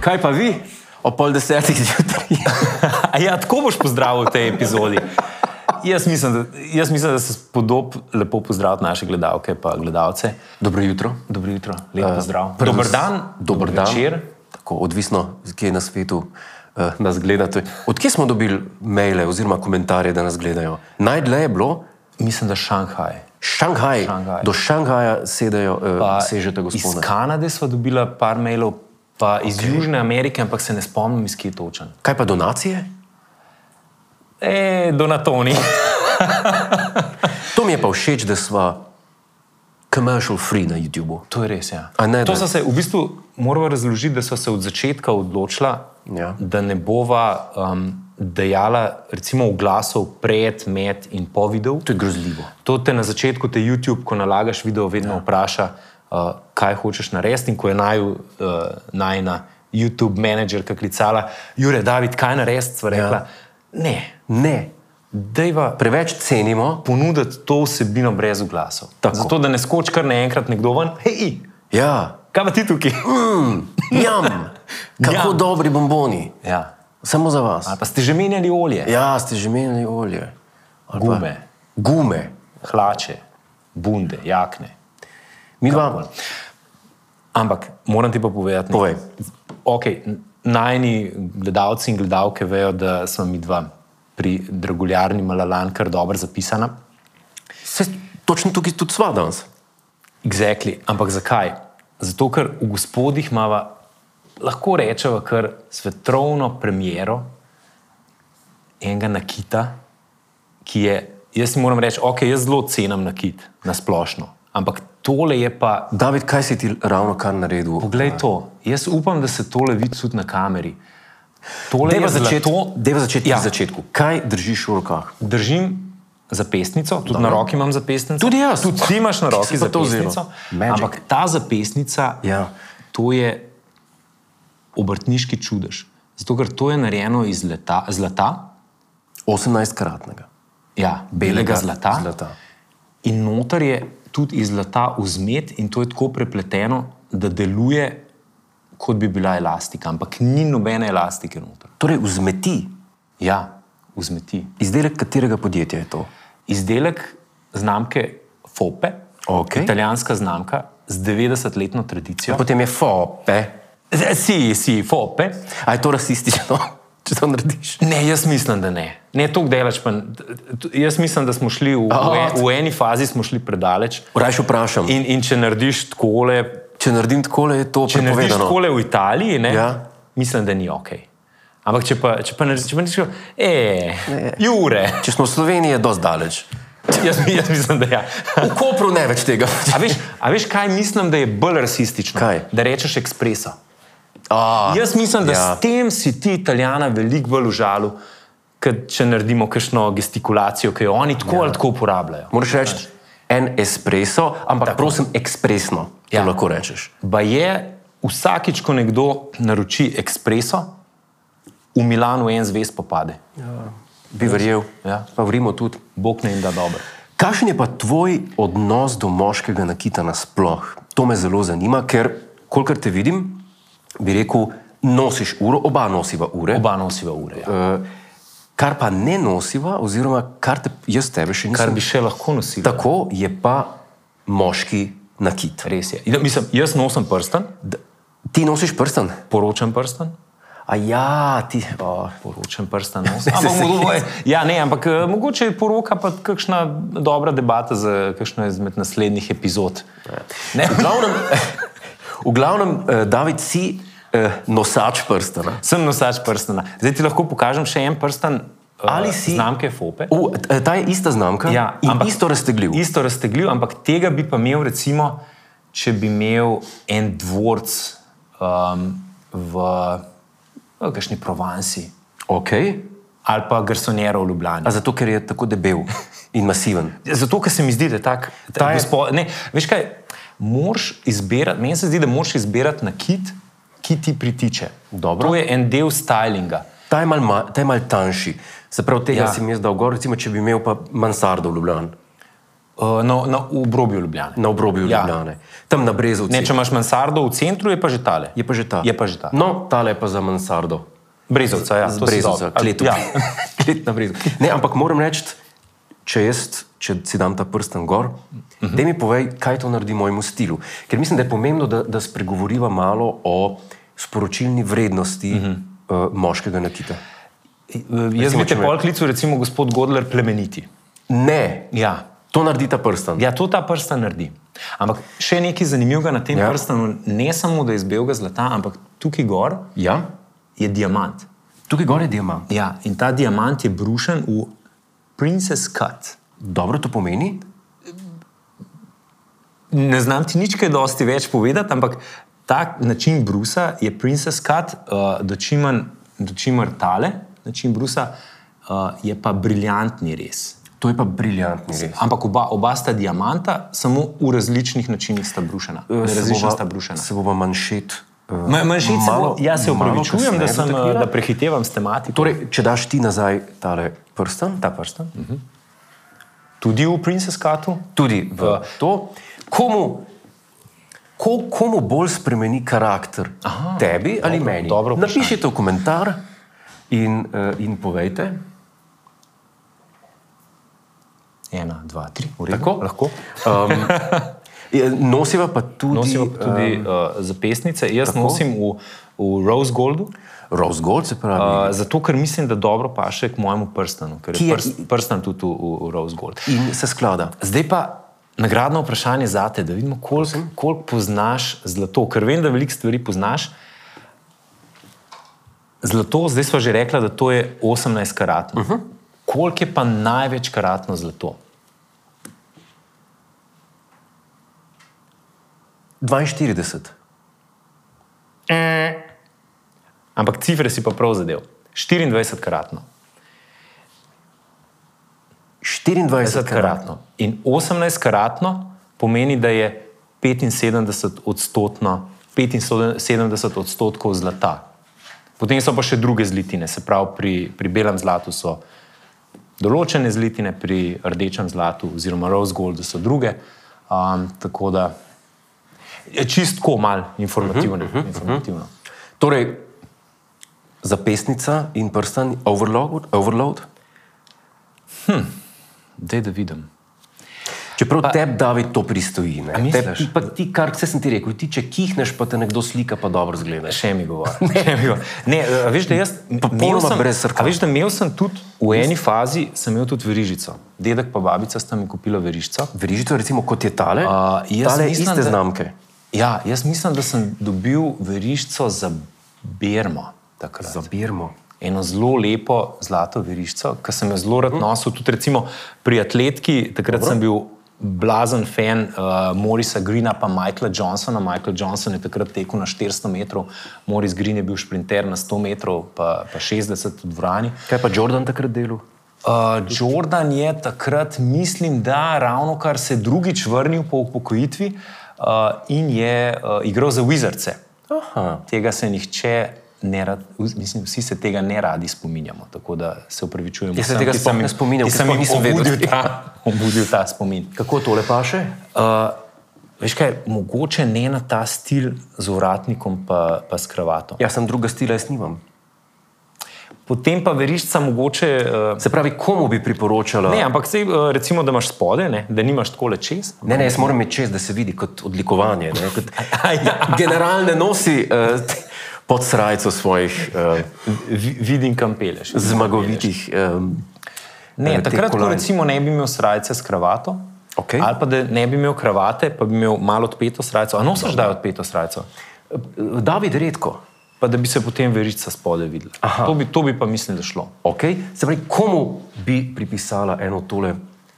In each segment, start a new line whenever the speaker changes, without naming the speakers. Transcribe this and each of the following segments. Kaj pa vi?
O pol desetih zjutraj.
A ja, tako boš pozdravil v tej epizodi. Jaz mislim, da, jaz mislim, da se spodob lepo pozdraviti naše gledalke in gledalce.
Dobro jutro.
Dobro jutro, lepo pozdrav. Uh,
Predvs-
dober dan,
dober dan.
večer.
Tako, odvisno, kje na svetu eh, nas gledate. Odkje smo dobili maile oziroma komentarje, da nas gledajo? Najdlje je bilo
Mislim, da Šanghaj.
Šanghaj.
Šanghaj.
Do Šanghaja sedejo,
Pa
eh, sežete
Iz
gospode.
Kanade smo dobili par mailov, pa iz okay. Južne Amerike, ampak se ne spomnim, iz kje točen.
Kaj pa donacije?
E, donatoni.
To mi je pa všeč, da smo commercial free na YouTubu.
To je res. Ja.
A ne,
to
da-
so se v bistvu moramo razložiti, da so se od začetka odločila,
Ja.
da ne bova um, dejala, recimo, oglasov pred, med in po videu.
To je grozljivo.
To te na začetku, te YouTube, ko nalagaš video, vedno ja. vpraša, uh, kaj hočeš narediti. In ko je naj, uh, najna YouTube menedžerka klicala, Jure, David, kaj narediti, sva rekla, ja. ne,
Ne,
dejva
preveč cenimo.
ponuditi to vsebino brez oglasov.
Tako.
Zato, da ne skoči kar naenkrat nekdo ven, hej,
Ja,
kaj pa ti tukaj?
jam, kako
Jam.
dobri bomboni.
Ja.
Samo za vas.
Ali pa ste že menjali olje, ja.
Ja, ste že menili olje. Ali pa-
Gume.
Gume.
hlače, bunde, jakne.
Mi dva.
Ampak moram ti pa povedati,
Povej.
Okay, najni gledalci in gledalke vejo, da smo mi dva pri draguljarni Malalan kar dobro zapisana.
Se, točno tukaj tudi sva danes.
Exactly. Ampak zakaj? Zato, ker v gospodih imamo, lahko rečemo, kar svetovno premjero enega nakita, ki je, jaz jim moram reči, ok, jaz zelo cenim nakit na splošno, ampak tole je pa
David, kaj si ti ravno kar naredil?
Poglej to, jaz upam, da se tole vidi tudi na kameri. Tole
Dejva
je
začeti-
zlato,
Dejva začeti
Ja.
ja. na začetku. Kaj držiš v rokah?
držim zapestnico, tudi Dobro. na roki imam zapestnico.
Tudi jaz.
Tudi ti imaš na roki
si pa to vzel?
zapestnico.
Magic.
Ampak ta zapestnica,
Ja.
to je obrtniški čudež. Zato, ker to je narejeno iz leta, zlata,
18-kratnega.
ja, belega zlata,
zlata.
in noter je tudi iz zlata vzmet, in to je tako prepleteno, da deluje, kot bi bila elastika, ampak ni nobene elastike noter.
Torej, vzmeti.
Ja, vzmeti.
Izdelek katerega podjetja je to?
Izdelek znamke Fope,
Okej.
italijanska znamka z 90-letno
Ja.
tradicijo.
Potem je fope.
E, Si, si, Fope.
A je to rasistično, če to narediš?
Ne, jaz mislim, da ne. Ne, to delaš. Pa, t- t- jaz mislim, da smo šli v, v, en- v eni fazi smo šli predaleč.
Rajš vprašam. In,
In, in če narediš takole,
če naredim tako, je to
če narediš
prepovedano.
takole v Italiji, ne,
Ja.
mislim, da ni ok. Ampak če pa, če pa narediš, če pa narediš, tako, e, Jure,
Če smo v Sloveniji, je dosti daleč.
jaz, jaz mislim, da ja.
V Kopru ne več tega.
A veš, a veš, kaj mislim, da je bolj rasistično?
Kaj?
Da rečeš ekspresa.
A,
Jaz mislim, da
ja.
ja. s tem si ti, Italijana, veliko bolj v žalu, kot če naredimo kakšno gestikulacijo, ki jo oni tako ja. ali tako uporabljajo.
Moraš reči en espresso, ampak Tako. prosim, ekspresno. Ja.
Ja.
Lahko rečeš.
Pa je vsakič, ko nekdo naroči ekspreso, v Milanu en zvezd popade.
Bi verjel,
Ja.
pa vrimo tudi.
Bog ne jim da dobro.
Kakšen je pa tvoj odnos do moškega nakita nasploh? To me zelo zanima, ker kolikor te vidim, bi rekel, nosiš uro, oba nosiva ure.
Oba nosiva ure. Ja.
Eh, Kar pa ne nosiva, oziroma kar te, jaz tebe še
Kar
nisem.
bi še lahko nosili.
Tako je pa moški nakit.
Res je. Ja, Mislim, jaz nosim prsten,
D- Ti nosiš prstan?
poročen prsten.
A ja, ti. Oh.
Poročen prsten. no.
se
Ampak
se-
mogoče- Ja, ne, ampak eh, mogoče je poroka pa kakšna dobra debata za kakšno izmed naslednjih epizod. Ne.
V glavnem, v glavnem eh, David, si eh, nosač prstana.
Sem nosač prstena. Zdaj ti lahko pokažem še en prsten eh,
Ali si-
znamke Fope.
U, eh, ta je ista znamka
Ja,
in
ampak-
isto raztegljiv. Ist...
Isto raztegljiv, ampak tega bi pa imel, recimo, če bi imel en dvorc um, v, v kakšni Provansi
Okay.
ali pa garsonjero v Ljubljani.
A zato, ker je tako debel in masiven.
Zato, ker se mi zdi, da je tako.
Ta je-
Gospo, ne, veš kaj, moraš izbirati, meni se zdi, da moraš izbirati nakit, ki ti pritiče.
Dobro.
To je en del stylinga.
Ta je malo mal tanjši. Se pravi, tega
Ja.
ja. si mi jaz dal gor, recimo, če bi imel pa mansardo v Ljubljani,
Uh, na, na obrobju Ljubljana.
na obrobju
Ja.
ja. Ljubljane, tam na Brezovcu.
Ne, če imaš mansardo v centru, je pa že tale.
Je pa že ta.
Je pa že ta.
No, tale je pa za mansardo.
Brezovca, ja,
Z
to si
Brezovca,
dobro.
kletu.
Ja.
Klet na Brezovcu. Ne, ampak moram reči, če jaz, če si dam ta prsten gor, uh
Mhm.
-huh. da mi povej, kaj to naredi mojemu stilu. Ker mislim, da je pomembno, da, da spregovoriva malo o sporočilni vrednosti
Mhm.
uh -huh. uh, moškega nakita.
Jaz bi te
če me-
pol klical, recimo, gospod Godler, plemeniti.
Ne,
Ja.
to naredi ta prsten.
Ja, to ta prsten naredi. Ampak še nekaj zanimivega na tem ja.
Ja.
prstenu, ne samo da je iz belega zlata, ampak tukaj gor
ja?
je diamant.
Tukaj gor je diamant.
Ja, in ta diamant je brušen v Princess Cut.
Dobro to pomeni?
Ne znam ti nič kaj dosti več povedati, ampak ta način brusa je Princess Cut, uh, dočimen, dočimer tale, način brusa uh, je pa briljantni res.
To je pa briljantni res.
Ampak oba, oba sta diamanta, samo v različnih načinih sta brušena.
Eh, se
Različno
bova-
sta brušena.
Se bova manšet. eh,
Ma- Manjšice,
malo-
malo, jaz se
malo
upravičujem, da,
kasneje
sem, eh,
dotaknila.
da prehitevam s tematiko.
Torej, če daš ti nazaj tale prsten,
ta prsten. Uh -huh. Tudi v Princess Cutu.
tudi v to, komu, ko, komu bolj spremeni karakter? Aha, tebi ali
dobro,
meni?
dobro vprašanje.
Napišite v komentar in, eh, in povejte.
Ena, dva, tri. v redu,
Tako?
Lahko.
Um, je- nosiva pa tudi, eh,
Nosim tudi, tudi uh, zapestnice. Jaz tako? nosim v, v Rose Goldu,
uh, rose gold, se pravi.
uh, zato ker mislim, da dobro paše k mojemu prstenu, ker
Ki
je,
je-
prst, prsten tudi v, v, v Rose Gold.
in se sklada.
Zdaj pa nagradno vprašanje za te, da vidimo, koliko kolik poznaš zlato. Ker vem, da veliko stvari poznaš. Zlato, zdaj smo že rekli, da to je 18 karatno. Uh -huh. Koliko je pa največ karatno zlato?
42.
Ampak cifre si pa prav zadev. 24 karatno,
24
10
karat.
karatno. In 18 karatno pomeni, da je 75 odstotno. 75 odstotkov zlata. Potem so pa še druge zlitine, se pravi, pri, pri belem zlatu so določene zlitine, pri rdečem zlatu, oziroma rose goldu so druge. Um, tako da je čistko malo informativno. Uh -huh, uh -huh, informativno. Uh -huh.
Torej, zapestnica in prsten, overload. overload.
Dej, da vidim.
Čeprav tebi, David, to pristoji. ne.
misliš?
Tebi- pa Ti, kar se sem ti rekel, ti če kihneš, pa te nekdo slika, pa dobro zgledaš.
Še mi govori. Še mi govori. Ne, a veš, da jaz imel
Popolnoma
sem-
brez srca.
a Veš, da imel sem tudi v eni fazi, sem imel tudi verižico. Dedek pa babica sta mi kupila verižico.
Verižico, recimo, kot je tale,
A, jaz
tale
mislim,
iste
da-
znamke.
Ja, jaz mislim, da sem dobil verižico za Birmo. Takrat.
Zabirmo.
eno zelo lepo zlato veriščico, ki sem jo zelo rad nosil. Tudi recimo, pri atletki, takrat Dobro. sem bil blazen fan uh, Morisa Greena in Michaela Johnsona. Michael Johnson je takrat tekel na 400 metrov, Moris Green je bil šprinter na 100 metrov, pa, pa 60 v dvorani.
Kaj pa Jordan takrat delal?
Uh, Jordan je takrat, mislim, da ravno kar se je drugič vrnil po upokojitvi uh, in je uh, igral za Wizardce.
Aha.
Tega se nihče ne rad, vz- mislim, vsi se tega ne radi spominjamo. Tako da se upravičujem.
Jaz se
vsem,
tega
ki
sploh
sem
ne
jim-
spominjam,
ki
ker
sem
sploh
jim
nisem vedel.
obudil ta, obudil ta spomin.
Kako tole pa še?
Uh, veš kaj, mogoče ne na ta stil z uratnikom, pa, pa s kravato.
Jaz Ja, sem druga stila, jaz nimam.
Potem pa verišča mogoče. Uh,
Se pravi, komu bi priporočala?
Ne, ampak sej, eh, recimo, da imaš spode, ne, da nimaš tako lečes,
ne, ne jaz moram imeti čez, da se vidi kot odlikovanje. Ne, kot,
Ja.
generalne nosi uh, pod srajco svojih uh,
vi- vidim, kam peleš.
zmagovitih. Um,
Ne,
eh,
takrat, ko
tekmovaln-
recimo ne bi imel srajce s kravato,
Okej.
ali pa da ne bi imel kravate, pa bi imel malo odpeto srajco, a nosiš da odpeto srajco,
David redko.
pa da bi se potem verica spode videla.
Aha.
To bi, to bi pa mislim, da šlo.
Okay? Se pravi, komu bi pripisala eno tole,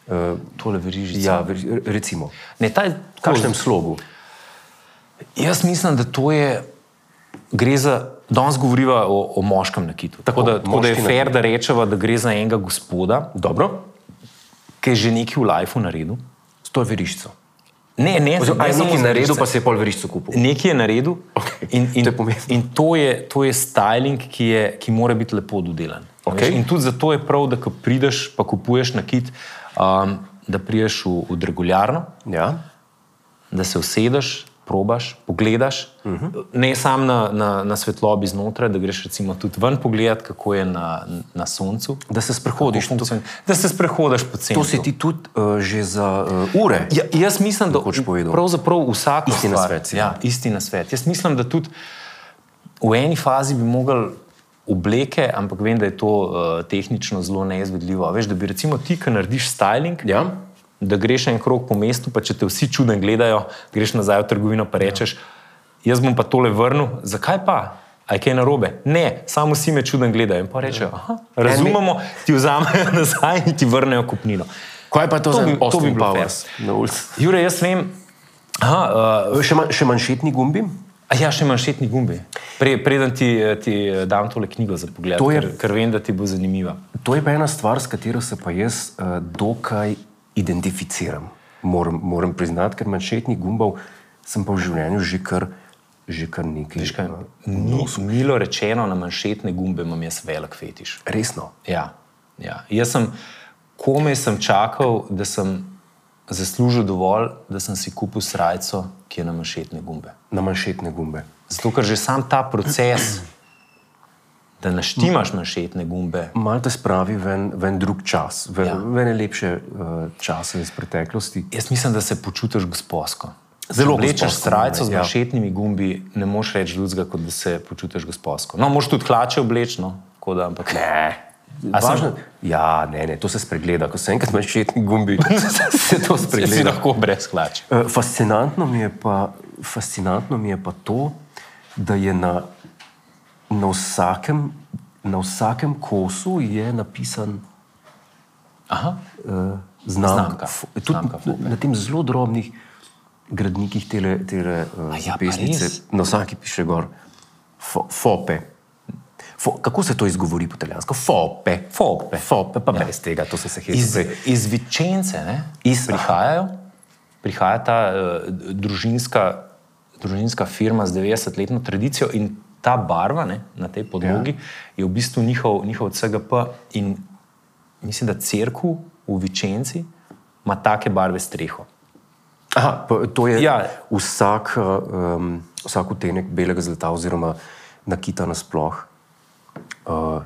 uh,
Tole verižica.
ja, ver- recimo,
Ne, ta je
v
tako-
kakšnem slogu?
Jaz mislim, da to je. Gre za, danes govoriva o, o moškem nakitu. Tako, da, tako da je
moški
fair, da rečeva, da gre za enega gospoda,
Dobro,
ki je že nekaj v lifeu naredil.
s to verižico.
Ne, ne,
Oziroma,
ne
aj
samo
nekaj
za
naredil,
verižice.
pa se je pol verižico kupil.
Nekaj je naredil
Okej,
in, in,
to je pomembno.
in to, je, to je styling, ki, je, ki mora biti lepo dodelan. Okay.
Okej.
In tudi zato je prav, da ko prideš, pa kupuješ nakit, um, da priješ v, v regularno,
Ja.
da se usedeš, probaš, pogledaš. Uh
Mhm.
-huh. Ne samo na, na, na svetlobi znotraj, da greš recimo tudi ven pogledat, kako je na, na soncu.
Da se sprehodiš.
kako funkcion- Da se sprehodiš po
To
centru.
si ti tudi uh, že za uh, ure.
Ja, jaz mislim, da
hočeš povedati?
pravzaprav vsak
Isti
stvar,
nasvet si
Ja, isti nasvet. Jaz mislim, da tudi v eni fazi bi mogli obleke, ampak vem, da je to uh, tehnično zelo neizvedljivo. A Veš, da bi recimo ti, ki narediš styling,
Ja.
da greš en krog po mestu, pa če te vsi čuden gledajo, greš nazaj v trgovino in rečeš, jaz bom pa tole vrnil, zakaj pa? A je kaj narobe? Ne, samo vsi me čuden gledajo. In pa rečejo, aha, razumemo, ti vzamejo nazaj in ti vrnejo kupnino.
Kaj pa je to,
To
za
bi- to
en
bi
Austin
bilo
Powers? Na ulici.
Jure, jaz vem, aha, uh,
Eh, Še, man, še manšetni gumbi?
a ja, še manšetni gumbi. Pre, preden ti, eh, ti eh, dam tole knjigo za pogled,
To je-
ker, ker vem, da ti bo zanimiva.
To je pa ena stvar, s katero se pa jaz uh, dokaj identificiram. Moram, moram priznati, ker manšetnih gumbov sem pa v življenju že kar, že kar nekaj.
Veš kaj,
eh,
mi- Milo rečeno, na manšetne gumbe imam jaz velik fetiš.
Resno.
Ja, ja. Jaz sem komaj sem čakal, da sem zaslužil dovolj, da sem si kupil srajco, ki je na manšetne gumbe.
Na manšetne gumbe.
Zato, ker že sam ta proces, da naštimaš manšetne gumbe,
Malo te spravi ven, ven drug čas, ven,
Ja.
ja. ven je lepše uh, čase iz preteklosti.
jaz mislim, da se počutiš gosposko.
Zelo
Lečeš
gosposko,
srajco z
ja.
manšetnimi gumbi, ne moš reči ljudska, kot da se počutiš gosposko. No, moš tudi hlače oblečno, tako da ampak.
Ne.
A sem-
Važno, ja, ne, ne, to se spregleda, ko se enkrat manšetni gumbi, se to
Si
spregleda.
lahko brez hlač.
Eh, Fascinantno mi je pa, fascinantno mi je pa to, da je na, na, vsakem, na vsakem kosu je napisan
Aha.
uh, znamk,
Znamka.
F- Tudi
Znamka Fope.
na tem zelo drobnih gradnikih tele, tele uh,
ja, pa
zapestnice,
res?
na vsaki piše gor fo, fope. Fo, kako se to izgovori po italijansko? Fope.
Fope.
Fope, pa ja. brez tega, to sem se hecel.
Iz,
prej.
iz Vičence ne,
Iz-
prihajajo, prihaja ta uh, družinska, družinska firma z 90-letno tradicijo in ta barva ne, na tej podlogi ja. je v bistvu njihov, njihov CGP. In mislim, da crkva v Vičenci ima take barve streho.
Aha, pa to je
Ja.
ja. vsak, um, vsak utenek belega zlata, oziroma nakita nasploh, uh,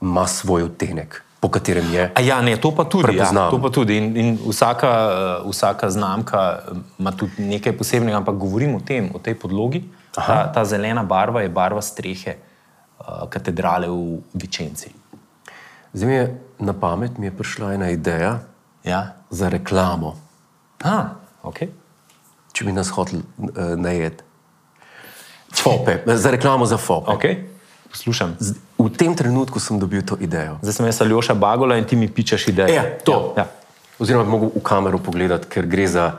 ima svoj utenek, po katerem je.
A ja, ne, to pa tudi. Ja,
Prepoznam.
to pa tudi. In, in vsaka, eh, vsaka znamka eh, ima tudi nekaj posebnega, ampak govorim o tem, o tej podlogi. Ta, ta zelena barva je barva strehe uh, katedrale v Vičenci.
Zdaj mi je na pamet mi je prišla ena ideja
Ja?
za reklamo,
Ah, okay.
če bi nas hotel uh, najeti. Fope, eh, za reklamo za fope.
Okay. Poslušam.
Z- V tem trenutku sem dobil to idejo.
Zdaj sem jaz Aljoša Bagola in ti mi pičeš ideje.
Ja, to.
Ja, ja.
Oziroma, bi mogel v kamero pogledati, ker gre za,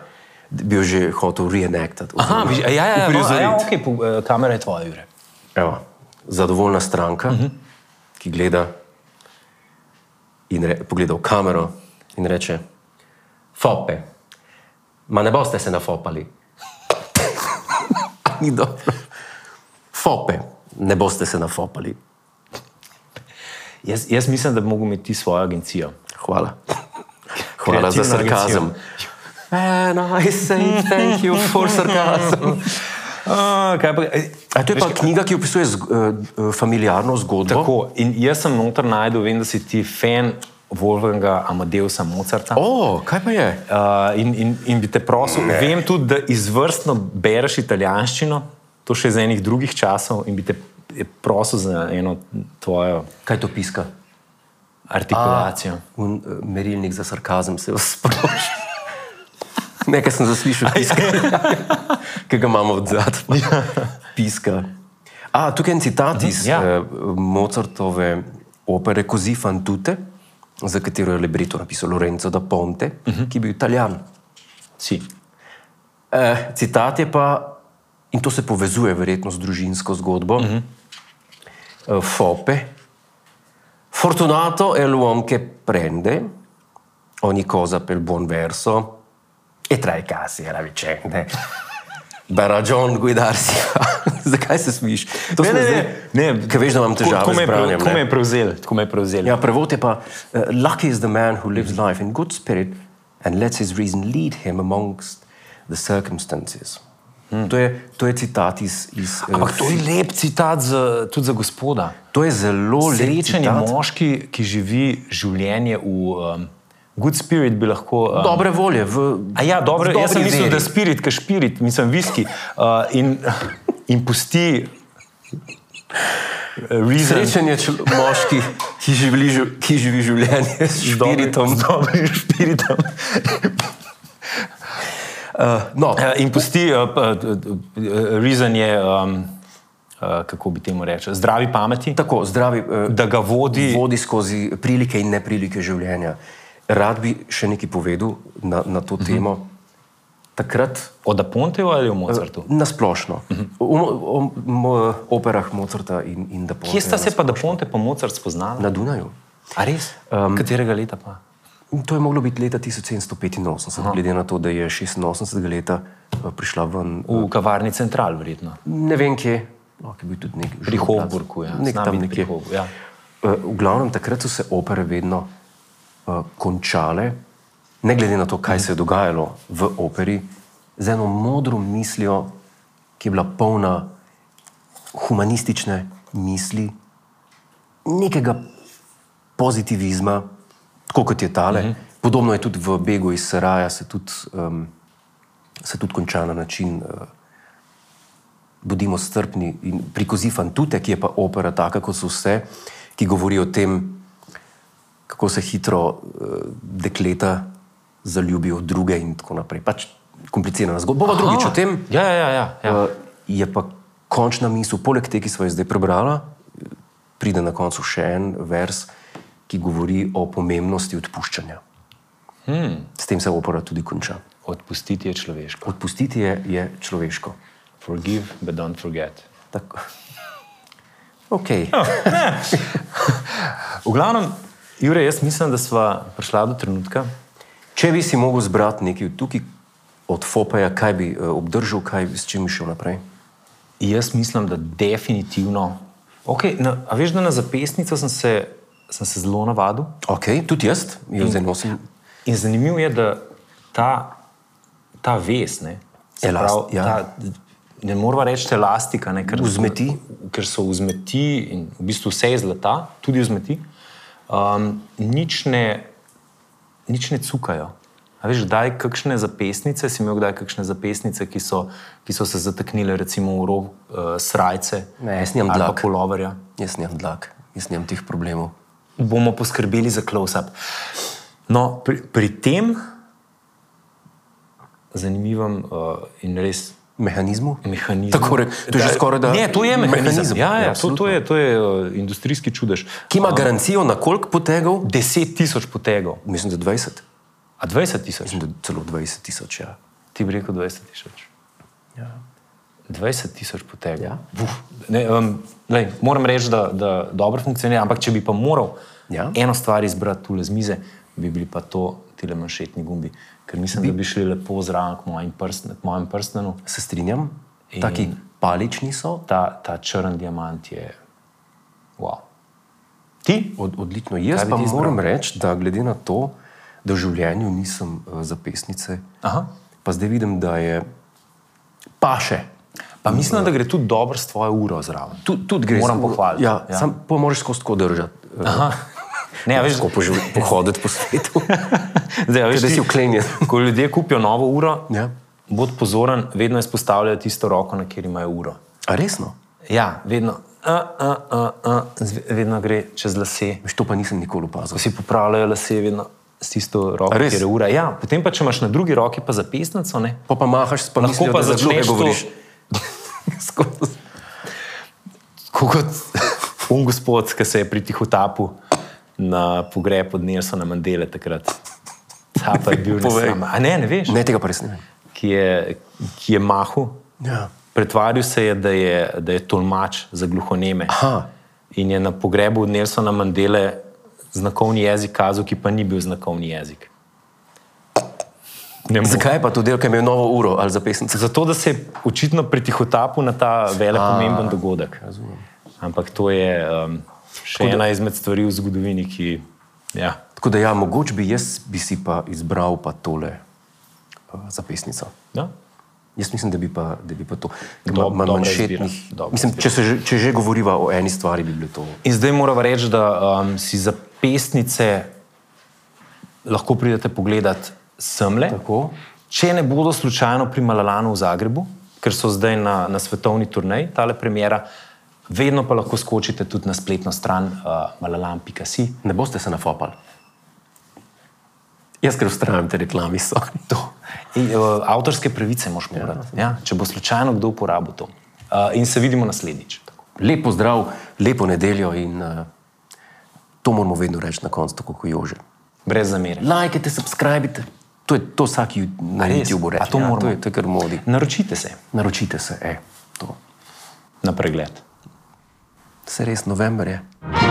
bi jo že hotel reenactati.
Aha,
oziroma
viš- ja, ja, ja, no, a ja
uprizoriti.
okay, po, eh, kamera je tvoja, Jure.
Evo, zadovoljna stranka, uh -huh. ki gleda in re, pogleda v kamero in reče: Fope, ma ne boste se nafopali. Ni dobro. Fope, ne boste se nafopali.
Jaz, jaz mislim, da bi mogel imeti ti svojo agencijo.
Hvala. Hvala za
Kreativna
sarkazem. And I say thank you for sarcasm.
Uh, kaj pa, eh,
A to je pa knjiga, ki opisuje zg, uh, familiarno zgodbo.
Tako, in jaz sem noter najdel, vem, da si ti fan Wolfganga Amadeusa Mozarta. Oh.
O, kaj pa je?
Uh, in, in, in bi te prosil, ne. vem tudi, da izvrstno bereš italijanščino, to še iz enih drugih časov, in bi te prosil za eno tvojo
Kaj to piska?
artikulacijo.
Un, uh, merilnik za sarkazem se je sprožil. Nekaj sem zaslišal, piska, ki ga imamo od zadaj. Piska. A, tukaj je en citat iz
ja.
ja. uh, Mozartove opere Così fan tutte, za katero je libreto napisal Lorenzo da Ponte, uh -huh. ki je bil italijan.
Si.
Eh, citat je pa, in to se povezuje verjetno z družinsko zgodbo, uh -huh. eh, Fope. Fortunato è l'uomo che prende ogni cosa per buon verso e tra i casi e la vicenda. Barajon Guidarsi. Zakaj se smiš? To
Ne,
se mi
ne,
zdaj-
ne, ne.
Ker veš, da imam
Tako-
težave
tako me
s
je prav-
branjem.
Tako me
ne.
je prevzel, tako me je prevzel.
Ja, prevod je pa: uh, Lucky is the man who lives life in good spirit and lets his reason lead him amongst the circumstances. Hmm. To, je, to je citat iz. iz eh,
Ampak to je lep citat za, tudi za gospoda.
to je zelo
Srečen je
lepo.
moški, ki živi življenje v um, good spirit, bi lahko. Um,
Dobre volje. V,
A ja, dobro,
v
jaz sem
dobri
mislil,
veri.
da spirit, ki špirit, mislim, viski uh, in, in pusti. uh, Reason,
Srečen je čel- moški, ki živi, žu- ki živi življenje s špiritom.
z dobrim špiritom.
Uh, no,
Eh, In pusti, uh, p- eh, eh, reason je, um, uh, kako bi temu reči, zdravi pameti,
tako, zdravi. Uh,
da ga vodi.
vodi skozi prilike in neprilike življenja. Rad bi še nekaj povedal na, na to temo. Takrat,
Od Aponteja ali v Mozartu?
na splošno, o, o, o operah Mozarta in, in da
Kje sta se
pomeni.
pa da Ponte in Mozart spoznala?
Na Dunaju.
A res? Um, Katerega leta pa?
In to je moglo biti leta 1785, Aha. glede na to, da je 86. leta eh, prišla ven.
V kavarni Central, verjetno.
Ne vem kje, lahko je bil tudi nek
Pri
Župnac.
Hoburgu, ja.
Nek
Zna
tam
biti pri
nekje.
Hobu, ja.
Eh, V glavnem, takrat so se opere vedno uh, končale, ne glede na to, kaj se je dogajalo v operi, z eno modro mislijo, ki je bila polna humanistične misli, nekega pozitivizma, tako kot je tale. Mm -hmm. Podobno je tudi v Begu iz Saraja, se tudi, um, se tudi konča na način. Uh, bodimo strpni in prikozi fantute, ki je pa opera taka, kot so vse, ki govori o tem, kako se hitro eh, dekleta zaljubijo v druge in tako naprej. Pač komplicirana zgodba. Bova drugič o tem.
Ja, ja, ja. ja, ja.
Eh, Je pa končna misel, poleg te, ki smo jo zdaj prebrala, pride na koncu še en vers, ki govori o pomembnosti odpuščanja.
Hmm.
S tem se opera tudi konča.
Odpustiti je človeško.
Odpustiti je, je človeško.
Forgive, but don't forget.
Tako. Okay.
Ja. V glavnem, Jure, jaz mislim, da sva prišla do trenutka.
Če bi si mogel zbrati nekaj tukaj od Fopaja, kaj bi eh, obdržal, kaj bi s čim bi šel naprej?
Jaz mislim, da definitivno. Okay, na, a veš, da na zapestnico sem se, sem se zelo navadil.
Ok, tudi jaz, jo zdaj nosim.
In zanimivo je, da ta, ta ves, ne, se
Elast-
pravi,
ja.
ta, ne moramo reči elastika, ne, ker,
Vzmeti.
ker so vzmeti in v bistvu vse je zlata, tudi vzmeti, um, nič, ne, nič ne cukajo. A veš, kdaj kakšne zapestnice, si imel kdaj kakšne zapestnice, ki so, ki so se zataknile recimo v rob uh, srajce
Ne, jaz nimam
ali pa
dlak.
poloverja?
Jaz nimam dlak, jaz nimam teh problemov.
bomo poskrbeli za close-up. No, pri, pri tem zanimivem uh, in res
Mehanizmu?
mehanizmu.
Tako re- to je že skoraj da
Ne, to je mehanizem.
mehanizem.
mehanizem. Ja, ja,
Ja,
to, to je, to je uh, industrijski čudež. Um,
Ki ima garancijo na koliko potegov?
10 tisoč potegov,
Mislim, da 20.
a 20 tisoč.
Mislim, da celo 20 tisoč. Ja.
Ti bi rekel 20 tisoč.
Ja.
20 tisoč potegov.
Ja.
Uf, ne, um, lej, moram reči, da, da dobro funkcionira, ampak če bi pa moral
Ja.
eno stvar izbrati tule z mize, bi bili pa to tile manšetni gumbi. Ker mislim, bi... da bi šli lepo zraven k, mojim prstn, k mojem prstenu.
Se strinjam,
In-
taki palični so.
Ta, ta črn diamant je. Wow. Ti?
Od, odlično. Jaz
bi
pa
ti izbral?
moram reči, da glede na to, da v življenju nisem uh, zapestnice,
Aha.
pa zdaj vidim, da je paše.
Pa mislim, da gre tudi dobro s tvojo uro zraven.
Tu- Tudi gre
Moram
za-
pohvaliti.
Ja, ja.
Ja.
Sam pa moraš skozi tako držati.
Aha. Ne, a veš,
Tako poživ- pohoditi po svetu.
Zdaj, a veš,
da si
ti-
vklenjen.
Ko ljudje kupijo novo uro,
Ja.
Bod pozoren, vedno izpostavljajo tisto roko, na kateri imajo uro.
A resno?
Ja, vedno, a, a, a, a, zve- vedno gre čez lase.
Veš, to pa nisem nikoli opazil.
Ko si popravljajo lase, vedno s tisto roko,
A res?
kjer je ura. Ja, potem pa, če imaš na drugi roki pa zapestnico, ne,
Pa pa mahaš, pa
lahko
mislijo,
pa
da za gluhe
začneš to-
govoriš. Skozi.
tako kot un um gospod, ki se je pri tih utapu na pogreb od Nelsona Mandele takrat. Ta pa je bil
Povej.
nesam. A ne, ne veš,
Ne, tega pa res ne vem.
ki je, ki je mahu.
Ja.
Pretvaril se je, da je, da je tolmač za gluhoneme.
Aha.
In je na pogrebu od Nelsona Mandele znakovni jezik kazal, ki pa ni bil znakovni jezik. Ne morem.
Zakaj je pa to del, ki je imel novo uro ali zapisnico?
Zato, da se je očitno pritihotapu na ta velik,
A.
pomemben dogodek. Ampak to je um, še
Tako da-
ena izmed stvari v zgodovini, ki. Ja.
Tako da ja, mogoče bi jaz bi si pa izbral pa tole uh, zapisnico.
Ja?
Jaz mislim, da bi pa, da bi pa to. Ker
Dob-
ima- ima
dobra
manšetnih-
izbira, dobra
Mislim, če, se že, če že govoriva o eni stvari, bi bilo to.
In zdaj moramo reči, da um, si za pesnice lahko pridete pogledat semle.
Tako.
Če ne bodo slučajno pri Malalanu v Zagrebu, ker so zdaj na, na svetovni turnej, tale premjera, vedno pa lahko skočite tudi na spletno stran uh, malalan.si.
Ne boste se nafopali. Jaz, ker vztrajam, te reklami so.
In, uh, avtorske pravice moš morati, ja, če bo slučajno kdo uporabil to. Uh, in se vidimo naslednjič.
Lepo zdrav, lepo nedeljo in uh, to moramo vedno reči na koncu, tako kot jože.
Brez zamere.
Lajkajte, subskrbite. To je to vsak ju- na
A res?
YouTubu
A
reče.
to
ja, to
moramo?
je, to je kar modi.
Naročite se
Naročite se, e, to.
na pregled.
Se res november je.